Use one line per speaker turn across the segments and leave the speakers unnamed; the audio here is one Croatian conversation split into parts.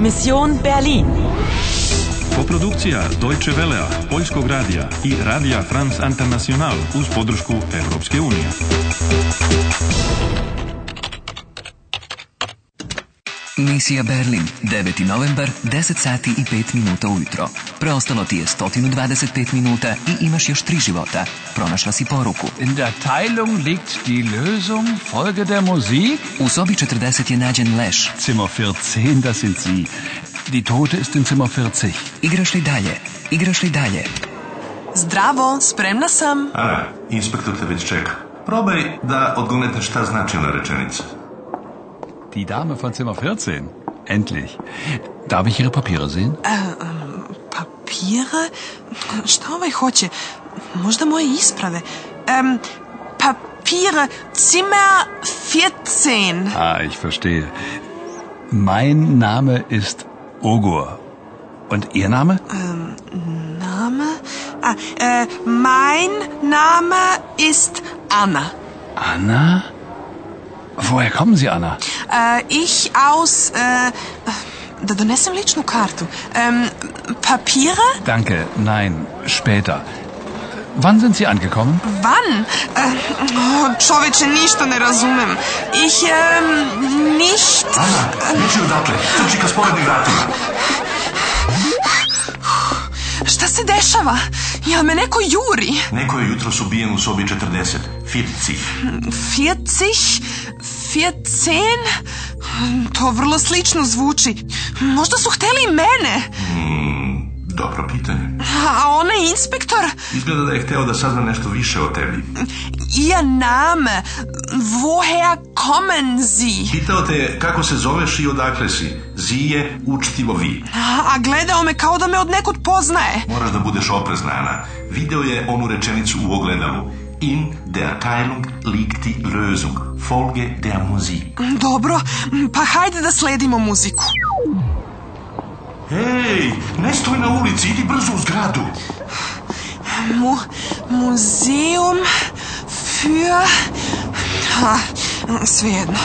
Mission Berlin.
Koprodukcija Deutsche Velea, Poljskog radija i Radija France International uz podršku Europske unije.
Misija Berlin, 9. novembar, 10 sati i 5 minuta ujutro. Preostalo ti je 125 minuta i imaš još tri života. Pronašla si poruku.
In der Teilung liegt die Lösung. Folge der Musik.
U sobi 40 je nađen leš.
Zimmer 14, das sind Sie. Die Tote ist in Zimmer 40.
Igraš li dalje? Igraš li dalje?
Zdravo, spremna sam.
Ana, inspektor te već čeka. Probaj da odgonete šta znači ona rečenica.
Die Dame von Zimmer 14. Endlich. Darf ich Ihre Papiere sehen?
Papire? Šta ovaj hoće? Možda moje isprave. Em, papire, Zimmer 14.
Ah, ich verstehe. Mein Name ist Ogur. Und Ihr Name?
Name? A, e, mein Name ist Anna.
Anna? Woher kommen Sie, Anna?
E, ich aus... E, da donesem ličnu kartu. Em, papire?
Danke, nein, später. Wann sind Sie angekommen?
Wann? E, o, čoveče, ništa ne razumem. Ich em, nicht...
Ana, neći odatle, trči ka sporednim vratima.
Šta se dešava? Jel me neko juri?
Neko je jutros ubijen u sobi 40, Firci.
40? 14? To vrlo slično zvuči. Možda su hteli i mene.
Hmm, Dobro pitanje.
A onaj inspektor?
Izgleda da je hteo da sazna nešto više o tebi.
Ihr Name. Woher kommen Sie?
Pitao te je kako se zoveš i odakle si. Zije učtivo vi.
A gledao me kao da me od nekud poznaje.
Moraš da budeš oprezna, Ana. Video je onu rečenicu u ogledalu. In der Teilung liegt die Lösung. Folge der Musik.
Dobro, pa hajde da sledimo muziku.
Hej, ne stoj na ulici, idi brzo u zgradu.
Mu, muzeum für... Ha, svejedno.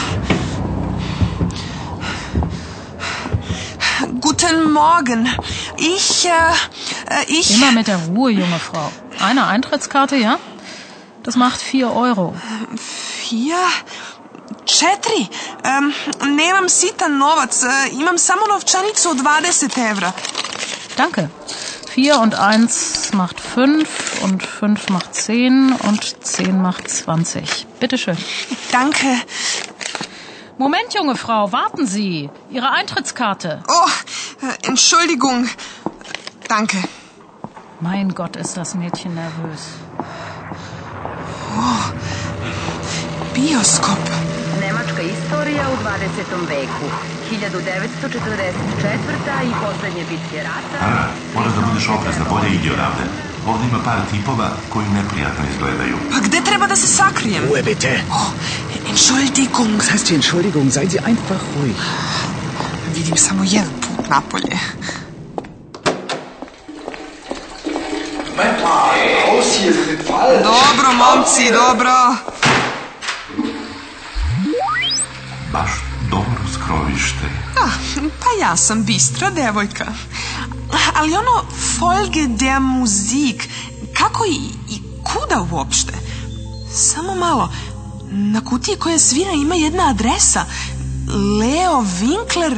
Guten Morgen. Ich, äh, äh, ich...
Immer mit der Ruhe, junge Frau. Eine Eintrittskarte, ja? Das macht 4 Euro.
Vier... Četiri. Em, nemam sitan novac. e, imam samo novčanicu od 20 evra.
Danke. 4 und 1 macht 5 und 5 macht 10 und 10 macht 20. Bitteschön.
Danke.
Moment, junge Frau, warten Sie. Ihre Eintrittskarte.
Oh, äh, Entschuldigung. Danke.
Mein Gott, ist das Mädchen nervös.
Bioskop.
Nemačka istorija u 20. veku. 1944. i poslednje bitke rata.
Ana, moraš da budeš oprezna, bolje idi odavde. Ovdje ima par tipova koji neprijatno izgledaju.
Pa gde treba da se sakrijem?
Ruhe bitte.
Oh, Entschuldigung.
Was heißt die Entschuldigung? Seien Sie einfach ruhig.
Vidim samo jedan put napolje.
Raus hier, Sie sind falsch.
Dobro, momci, dobro.
Baš dobro skrovište.
Ah, pa ja sam bistra devojka. Ali ono folge der muzik, kako i, i kuda uopšte? Samo malo, na kutiji koja svira ima jedna adresa. Leo Winkler,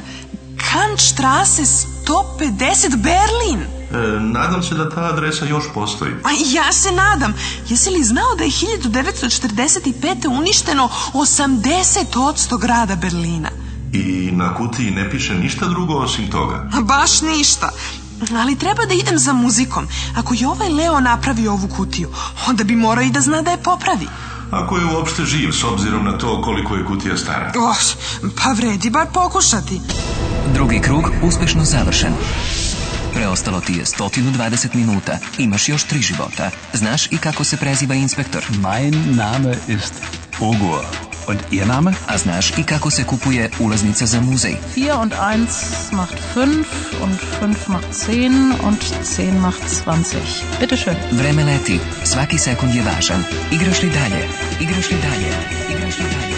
Kantstrasse 150 Berlin.
E, nadam se da ta adresa još postoji.
A i ja se nadam. Jesi li znao da je 1945. uništeno 80% grada Berlina?
I na kutiji ne piše ništa drugo osim toga.
Baš ništa. Ali treba da idem za muzikom. Ako je ovaj Leo napravio ovu kutiju, onda bi morao i da zna da je popravi.
Ako je uopšte živ, s obzirom na to koliko je kutija stara.
Oh, pa vredi bar pokušati.
Drugi krug uspešno završen. Preostalo ti je 120 minuta, imaš još tri života. Znaš i kako se preziva inspektor,
Mein Name ist Ogur. Und Ihr Name?
a znaš i kako se kupuje ulaznica za muzej.
4 und 1 macht 5 und 5 macht 10 und 10 macht 20. Bitteschön.
Vreme leti, svaki sekund je važan. Igraš li dalje? Igraš li dalje? Igraš li dalje?